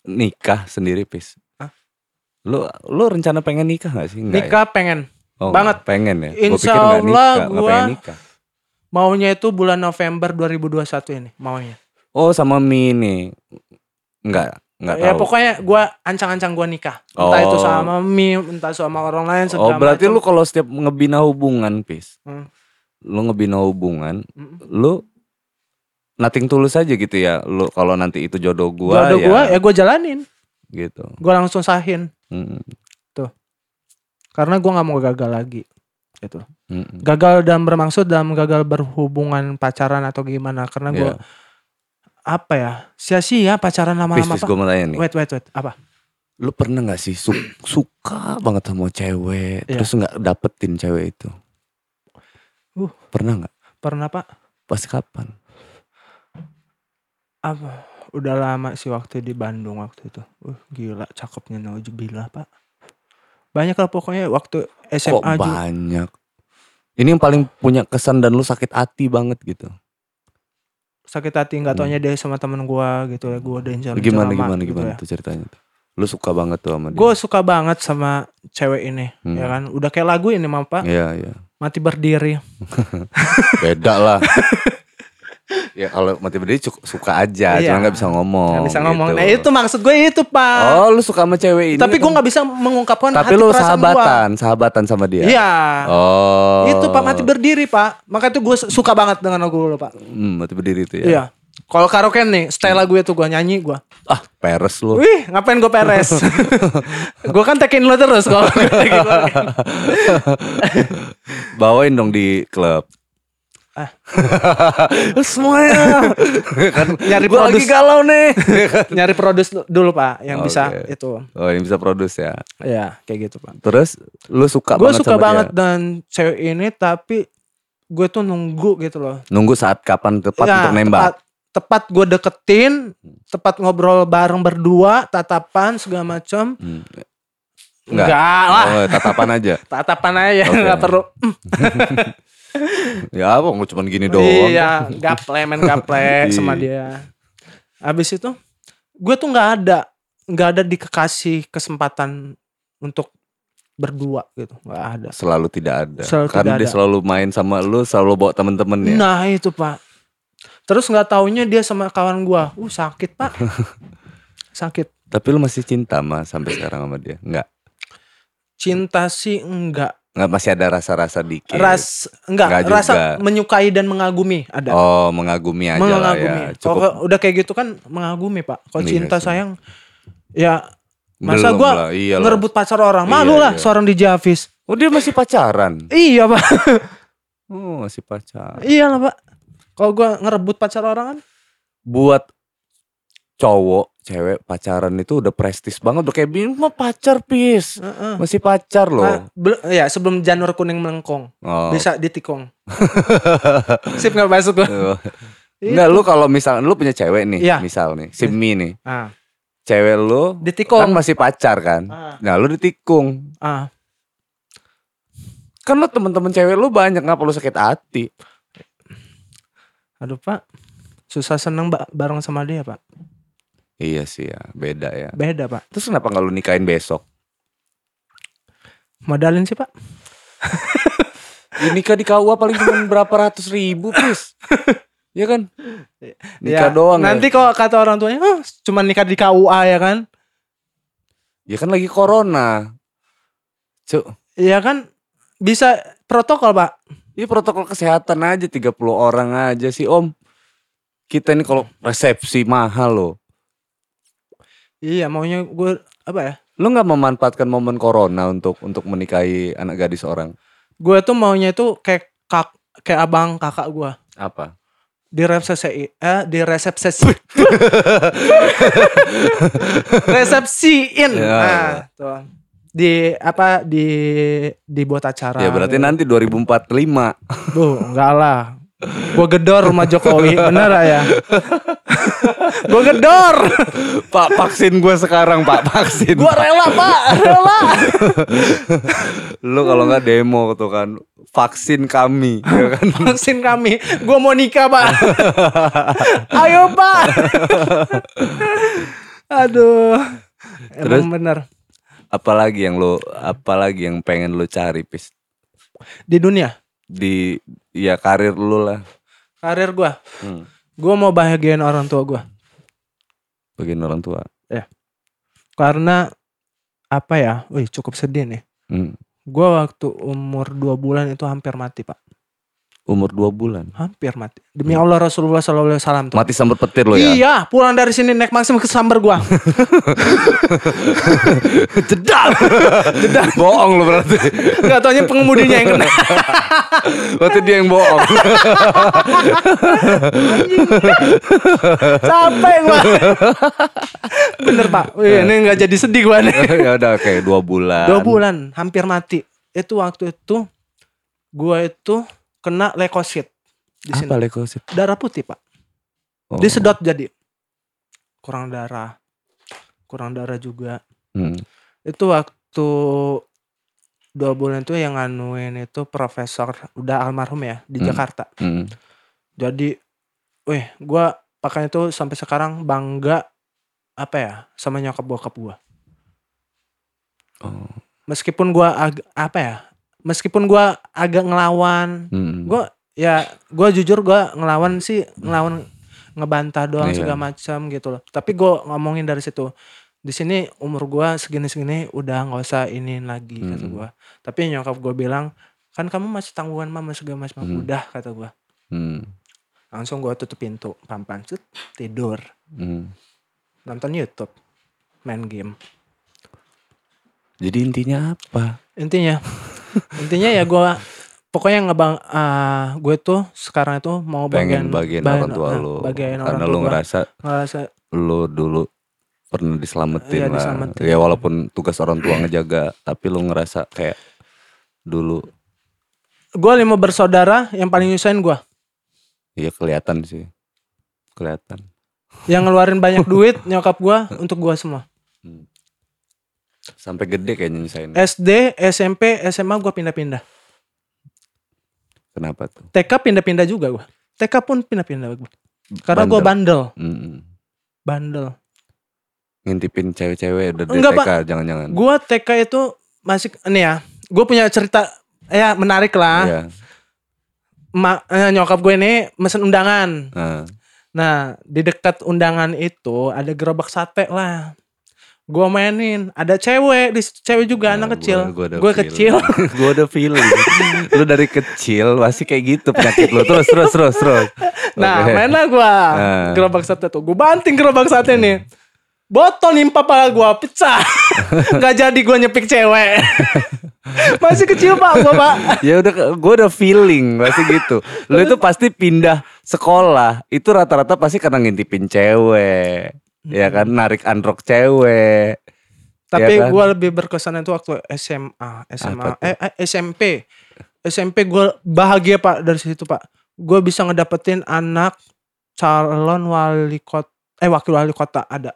nikah sendiri pis. Hah? Lu lu rencana pengen nikah gak sih? Nggak Nikah pengen. ya? Oh, banget. Pengen ya. Gua Insya pikir nggak Allah nikah, nggak gua- pengen nikah. Maunya itu bulan November 2021 ini maunya. Oh sama Mi nih. Enggak, enggak ya tahu. pokoknya gua ancang-ancang gua nikah. Entah itu Oh. sama Mi, entah sama orang lain Oh segala berarti lu macam. kalau setiap ngebina hubungan pis, Hmm. lu ngebina hubungan, Mm. lu nothing tulus aja gitu ya. Lu kalau nanti itu jodoh gua, Jodoh ya, gua ya gua jalanin. gitu. Gua langsung sahin Mm, karena gua nggak mau gagal lagi. Gitu. mm, mm. Gagal dalam bermaksud dalam gagal berhubungan pacaran atau gimana karena gua Iya. apa ya? Sia-sia pacaran Pis, lama-lama pis apa? gue mau tanya nih. Wait, wait, wait. Apa? Lu pernah gak sih su- suka banget sama cewek Iya. terus nggak dapetin cewek itu? Uh. Pernah nggak? Pernah, Pak? Pas kapan? Apa? Udah lama sih waktu di Bandung waktu itu. Uh, gila cakepnya naujubillah, Pak. Banyak lah pokoknya waktu Kok SMA juga. banyak? Ini yang paling punya kesan dan lu sakit hati banget gitu. sakit hati nggak taunya dia sama temen gua gitu ya gua dan jalan Hmm. gimana gimana gitu gimana ya. tuh ceritanya tuh. Lu suka banget tuh sama dia. gue suka banget sama cewek ini Hmm. ya kan udah kayak lagu ini mah pak Iya, iya. mati berdiri Beda lah. Ya kalau mati berdiri cuk- suka aja, Iya. cuma nggak bisa ngomong. Nggak bisa ngomong. gitu. Nah itu maksud gue itu pak. Oh, lu suka sama cewek ini. Tapi gue nggak bisa mengungkapkan Tapi hati lu perasaan gua. sahabatan, sahabatan sama dia. Iya. Oh. Itu pak mati berdiri pak. Maka itu gue suka banget dengan lagu lo pak. Hmm, mati berdiri itu ya. Iya. Kalau karaoke nih, style lagu itu gue nyanyi gue. Ah, peres lu. Wih, ngapain gue peres? gue kan tekin lo terus kalau gua lagi karaoke. Bawain dong di klub. Ah. Semuanya kan Nyari gua lagi produs. galau nih. Nyari produs dulu pak, yang bisa Oke. itu. oh, yang bisa produs ya. Ya kayak gitu pak. Terus lu suka Gue banget suka sama banget dia. dan cewek ini tapi gue tuh nunggu gitu loh. Nunggu saat kapan tepat Ya, untuk nembak. Tepat, tepat gue deketin, tepat ngobrol bareng berdua, tatapan segala macem. Hmm. Enggak, Enggak. lah, Oh, tatapan aja. tatapan aja Oke. nggak perlu. Ya apa gua cuman gini doang. Iya, gaple men gaple Iya. sama dia. Habis itu gue tuh nggak ada nggak ada dikasih kesempatan untuk berdua gitu, nggak ada. Selalu tidak ada. Selalu Karena tidak dia ada. selalu main sama lu, selalu bawa temen-temen ya. Nah itu pak. Terus nggak taunya dia sama kawan gua Uh sakit pak. sakit. Tapi lu masih cinta mah sampai sekarang sama dia? Enggak. Cinta sih enggak. Enggak masih ada rasa-rasa dikit. Ras enggak, Enggak rasa juga. menyukai dan mengagumi ada. Oh, mengagumi aja lah mengagumi. ya. Kalau Cukup ke- udah kayak gitu kan mengagumi pak. Kalau Iya cinta sih. sayang ya masa belum gua lah. Iya lah. ngerebut pacar orang. Malu Iya, lah iya. seorang DJ Hafiz. Oh, dia masih pacaran. Iya pak. Oh, masih pacaran. iya lah pak. Kalau gua ngerebut pacar orang kan. Buat cowok, cewek pacaran itu udah prestis banget. Udah kayak bini mah pacar pis. heeh. Masih pacar Nah, loh. bel- ya sebelum janur kuning melengkung Oh. bisa ditikung. Sip nggak masuk gua. gitu. Enggak lu kalau misal lu punya cewek nih, Iya. misal nih, Simi nih. Ah, Cewek lu kan ditikung. masih pacar kan? Ah, Nah, lu ditikung. ah. Kan lu temen-temen cewek lu banyak, ngapa lu sakit hati? Aduh pak, susah seneng ba- bareng sama dia pak. Iya sih ya, beda ya. Beda pak. Terus kenapa nggak lu nikahin besok? Modalin sih pak. Ya, nikah di KUA paling cuma berapa ratus ribu, Pis. Iya kan? Nikah Ya, doang Nanti kok kata orang tuanya, oh, cuman nikah di KUA ya kan? ya. Ya kan lagi corona. Cuk, Iya kan? Bisa protokol pak. ini ya protokol kesehatan aja 30 orang aja sih, Om. Kita ini kalau resepsi mahal loh. Iya maunya gue apa ya? Lu nggak memanfaatkan momen corona untuk untuk menikahi anak gadis orang? Gue tuh maunya itu kayak kak kayak abang kakak gue Apa? di resepsi eh di resepsi resepsiin Ya. nah, tuh. di apa di dibuat acara Ya berarti nanti 2045. Duh, enggak lah. Gue gedor rumah Jokowi, bener ya. gue gedor. Pak vaksin gue sekarang Pak vaksin. Gue rela, Pak. Rela. Lu kalau nggak demo tuh kan vaksin kami, ya kan? Vaksin kami. Gue mau nikah, Pak. Ayo, Pak. Aduh. Terus? Emang bener. Apalagi yang lu apalagi yang pengen lu cari pis Di dunia, di ya karir lu lah. karir gue. Hmm. Gue mau bahagiain orang tua gue. Bagian orang tua. Karena, apa ya, wih cukup sedih nih. Hmm. Gue waktu umur 2 bulan itu hampir mati, Pak. Umur 2 bulan. Hampir mati. Demi Allah Rasulullah SAW tuh. Hmm. Mati sambar petir lu ya. Iya, pulang dari sini naik maksimum ke Sambar gua. Jedal. Jedal. bohong lu berarti. Gak taunya pengemudinya yang kena. Berarti dia yang bohong. Capek gua. Bener Pak. Wih, ini gak jadi sedih gua nih. ya udah kayak 2 bulan. Iya. Dua bulan hampir mati. Itu waktu itu gua itu kena leukosit di sini. Apa leukosit? Darah putih, Pak. Oh. Disedot jadi kurang darah. Kurang darah juga. Hmm. Itu waktu dua bulan itu yang nganuin itu profesor udah almarhum ya di Hmm. Jakarta. Hmm. jadi weh gua pakainya tuh sampai sekarang bangga apa ya sama nyokap bokap gua Oh. meskipun gua ag- apa ya meskipun gua agak ngelawan Hmm. Gua- ya gue jujur gue ngelawan sih ngelawan ngebantah doang Iya. segala macam gitu loh tapi gue ngomongin dari situ di sini umur gue segini segini udah nggak usah ini lagi kata Mm. gue tapi nyokap gue bilang kan kamu masih tanggungan mama segala macam Mm. udah kata gue Hmm. langsung gue tutup pintu pampan set, tidur Hmm. nonton YouTube main game Jadi intinya apa? intinya intinya ya gue pokoknya ngebang ah, gue tuh sekarang itu mau Pengen bagian, orang bagian- tua ah, lu. bagian orang Karena tua lu gua. ngerasa ngerasa lu dulu pernah diselamatin Iya, lah. diselamatin. Ya walaupun tugas orang tua ngejaga, tapi lu ngerasa kayak dulu gue lima bersaudara yang paling nyusahin gue ya kelihatan sih. Kelihatan. yang ngeluarin banyak duit nyokap gue untuk gue semua Sampai gede kayaknya nyusahin. Eh. SD SMP SMA gue pindah-pindah Kenapa tuh? TK pindah-pindah juga gue TK pun pindah-pindah gue karena gue bandel Mm-mm. bandel Ngintipin cewek-cewek udah dari Enggak, TK jangan-jangan. gue TK itu masih ini ya gue punya cerita ya menarik lah Iya. Ma- eh, nyokap gue ini mesen undangan Nah, Nah, di dekat undangan itu ada gerobak sate lah. Gua mainin, ada cewek, di situ cewek juga Nah, anak kecil. gua- Gue kecil. gue udah feeling. lu dari kecil masih kayak gitu penyakit lu. Terus terus terus terus. Nah, Oke. mainlah gua Nah. gerobak sate tuh. Gue banting gerobak sate nih. Botol nimpa pala gua pecah. Gak jadi gua nyepik cewek. Masih kecil pak gua pak. ya udah gue udah feeling pasti gitu lu itu pasti pindah sekolah itu rata-rata pasti karena ngintipin cewek Hmm. ya kan narik androk cewek Tapi Iya kan? gua lebih berkesan itu waktu SMA, SMA, Apa tuh? eh, eh, SMP, SMP gua bahagia pak dari situ pak. Gue bisa ngedapetin anak calon wali kota, eh wakil wali kota ada.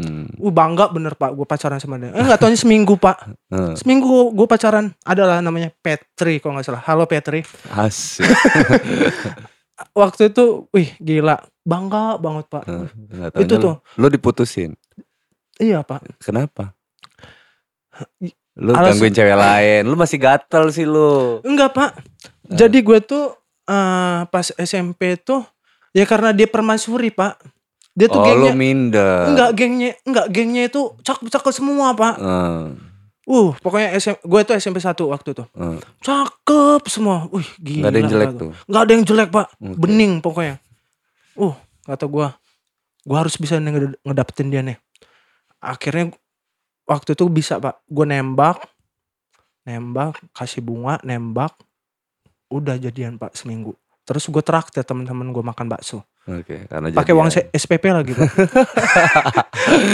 Hmm, Uh bangga bener pak, gue pacaran sama dia. Eh nggak taunya seminggu pak, eh, seminggu gue pacaran. Adalah namanya Petri kalau nggak salah. Halo Petri. asik Waktu itu, wih gila, bangga banget pak. Eh, nggak taunya Itu lu- tuh, lu diputusin iya pak. kenapa lu Alasan- gangguin cewek lain lu masih gatel sih lu Enggak pak. Jadi gue tuh eh, pas SMP tuh ya karena dia permaisuri pak. Dia tuh oh lu gengnya minder enggak gengnya enggak gengnya itu cakep cakep semua pak. Eh, Uh pokoknya SM, gue tuh SMP 1 waktu tuh eh, cakep semua. Wih nggak gila. ada yang jelek kata tuh gua. Nggak ada yang jelek pak. Oke. Bening pokoknya. Uh kata gue gue harus bisa nih nged- ngedapetin dia nih. Akhirnya waktu itu bisa pak. Gue nembak nembak kasih bunga nembak udah jadian pak seminggu terus gue traktir ya teman-teman gue makan bakso Oke, karena pakai uang jadian. se- SPP lagi pak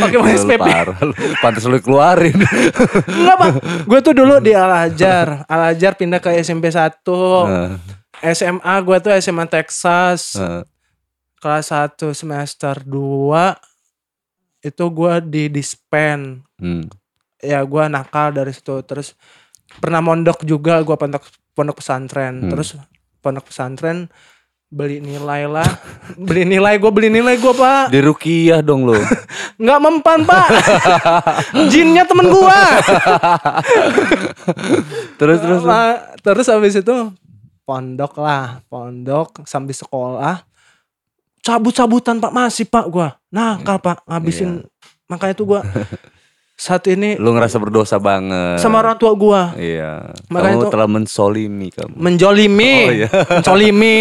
pakai Lu uang SPP parah, lu. Pantes lu keluarin enggak pak gue tuh dulu di Al Azhar Al Azhar pindah ke SMP 1 Eh, SMA gue tuh SMA Texas eh. kelas 1 semester 2 itu gue di dispen Hmm. ya gue nakal dari situ terus pernah mondok juga gue pondok pondok pesantren Hmm. terus pondok pesantren beli nilai lah beli nilai gue beli nilai gue pak Di Rukiah dong lo. nggak mempan pak jinnya temen gue terus terus. terus. terus habis itu pondok lah pondok sambil sekolah cabut-cabutan pak masih pak gue nakal pak Iya. ngabisin makanya tuh gue saat ini Lu ngerasa berdosa banget. sama orang tua gue Iya. Makanya kamu tuh- telah mensolimi kamu. menjolimi, Oh, iya. mencolimi.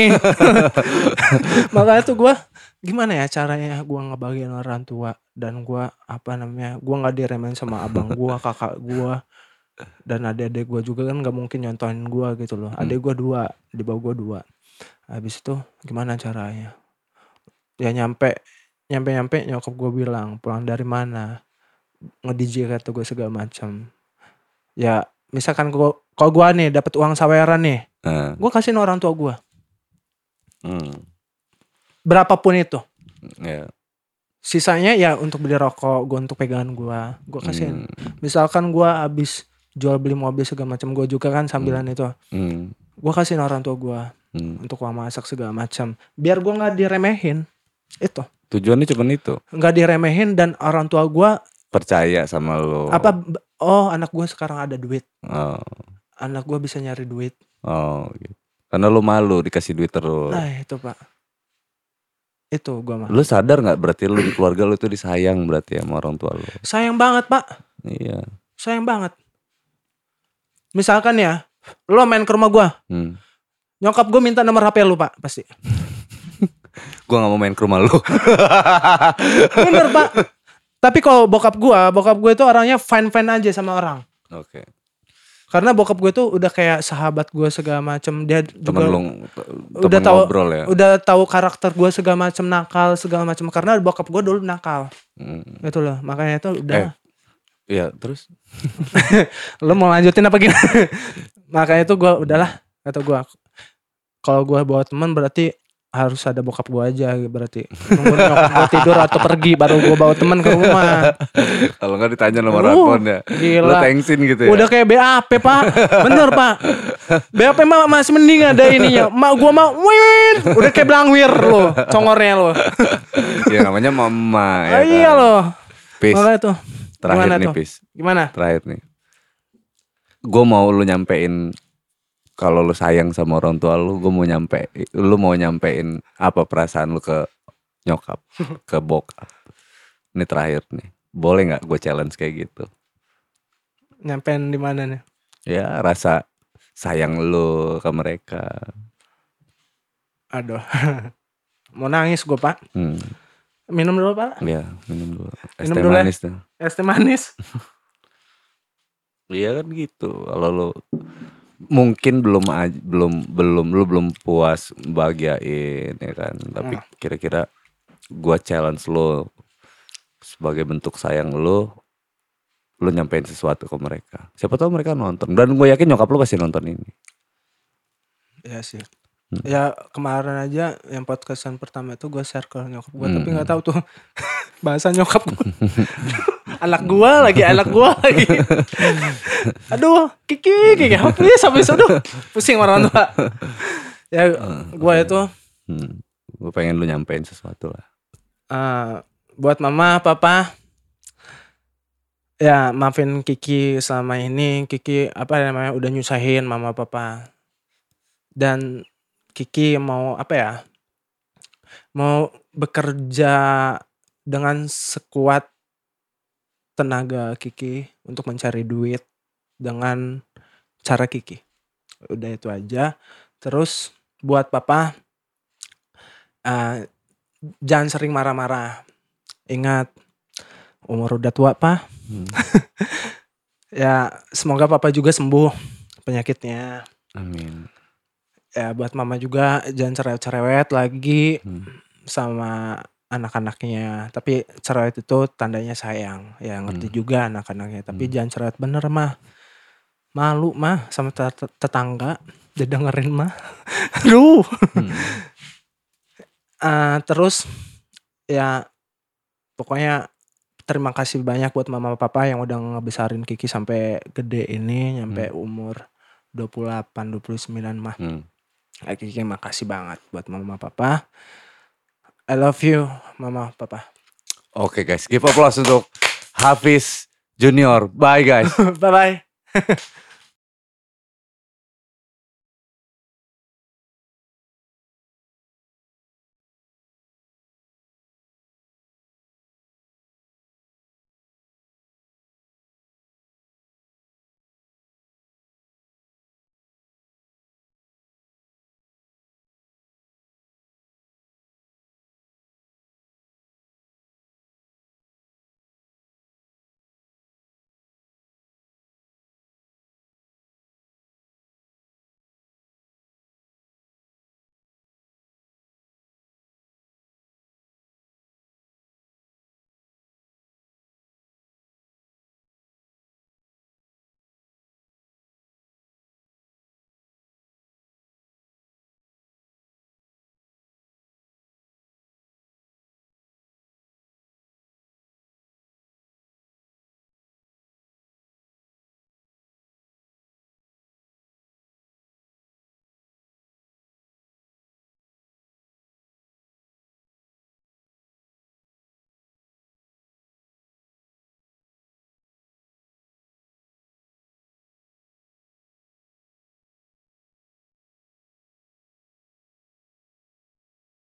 Makanya tuh gue gimana ya caranya gue ngebagian orang tua dan gue apa namanya gue nggak diremen sama abang gue, kakak gue dan adik-adik gue juga kan nggak mungkin nyontohin gue gitu loh. Adik gue dua, di bawah gue dua. Habis itu gimana caranya? Ya nyampe nyampe nyampe nyokap gue bilang pulang dari mana nge-DJ kata gue segala macam ya misalkan gue kalau gue nih dapat uang saweran nih Nah, gue kasihin orang tua gue hmm, berapapun itu ya. sisanya ya untuk beli rokok gue untuk pegangan gue gue kasihin Hmm, misalkan gue habis jual beli mobil segala macam gue juga kan sambilan itu hmm, gue kasihin orang tua gue hmm. untuk uang masak segala macam biar gue nggak diremehin itu Tujuannya cuma itu, nggak diremehin dan orang tua gue percaya sama lo. apa oh, b- oh anak gue sekarang ada duit Oh, anak gue bisa nyari duit oh, gitu. Karena lu malu dikasih duit terus. Nah itu pak. Itu gua mah. Lu sadar nggak berarti lu di keluarga lu tuh disayang berarti ya sama orang tua lu. Sayang banget pak. Iya. Sayang banget. Misalkan ya. Lo main ke rumah gua. Hmm. Nyokap gue minta nomor HP lu pak. Pasti. Gua nggak mau main ke rumah lu. Bener pak. Tapi kalau bokap gua, bokap gue itu orangnya fine-fine aja sama orang. Oke. Karena bokap gue tuh udah kayak sahabat gue segala macem. Dia Temen juga lu temen udah tahu- ngobrol ya. udah tahu karakter gue segala macem nakal segala macem. Karena bokap gue dulu nakal. Hmm. gitu loh makanya itu udah Iya, terus lo mau lanjutin apa gimana makanya itu gue udahlah kata gue kalau gue bawa teman berarti harus ada bokap gue aja berarti nunggu nyokap gua tidur atau pergi baru gue bawa teman ke rumah kalau nggak ditanya nomor Uh, handphone ya. Lu gila thanksin gitu ya. udah kayak BAP pak bener pak BAP mah masih mending ada ininya mak gue mah wit udah kayak belangwir lo congornya lo ya namanya mama ya. Ah, iya kan? lo Pis, makanya tuh terakhir gimana nih tuh? Pis. gimana Terakhir nih. Gue mau lu nyampein kalau lu sayang sama orang tua lu, gue mau nyampe lu mau nyampein apa perasaan lu ke nyokap, ke bokap. Ini terakhir nih. Boleh nggak gue challenge kayak gitu? nyampein di mana nih Ya, rasa sayang lu ke mereka. aduh mau nangis gue pak Hmm, minum dulu pak ya minum dulu. Es Minum teh dulu ya. manis tuh. es teh manis Iya kan gitu. Kalau lu mungkin belum aj- belum belum lu belum puas bahagiain ya kan. Tapi kira-kira gua challenge lu sebagai bentuk sayang lu lu nyampein sesuatu ke mereka. Siapa tahu mereka nonton. Dan gue yakin nyokap lu pasti nonton ini. ya sih ya kemarin aja yang podcastan pertama itu gue share ke nyokap gue tapi Hmm. nggak tahu tuh bahasa nyokap gue anak gue lagi anak gue lagi aduh kiki kiki apa ya sampai aduh pusing orang tua ya gue itu Hmm. Gue pengen lu nyampein sesuatu lah. eh, buat mama papa ya maafin Kiki selama ini Kiki apa namanya udah nyusahin mama papa dan Kiki mau apa ya mau bekerja dengan sekuat tenaga Kiki untuk mencari duit dengan cara Kiki udah itu aja terus buat papa eh, jangan sering marah-marah ingat umur udah tua pak Hmm. Ya, semoga papa juga sembuh penyakitnya. Amin. Ya, buat mama juga jangan cerewet-cerewet lagi Hmm. sama anak-anaknya. Tapi cerewet itu tandanya sayang. Ya, ngerti Hmm. juga anak-anaknya. Hmm. Tapi jangan cerewet bener mah. Malu mah sama te- te- tetangga. Didengerin mah. Aduh. Hmm. Eh, terus ya pokoknya terima kasih banyak buat mama papa yang udah ngebesarin Kiki sampai gede ini sampai umur 28 29 mah. Hmm. Ya, Kiki makasih banget buat mama papa. I love you mama papa. Oke guys, give applause untuk Hafiz Junior. Bye guys. Bye bye.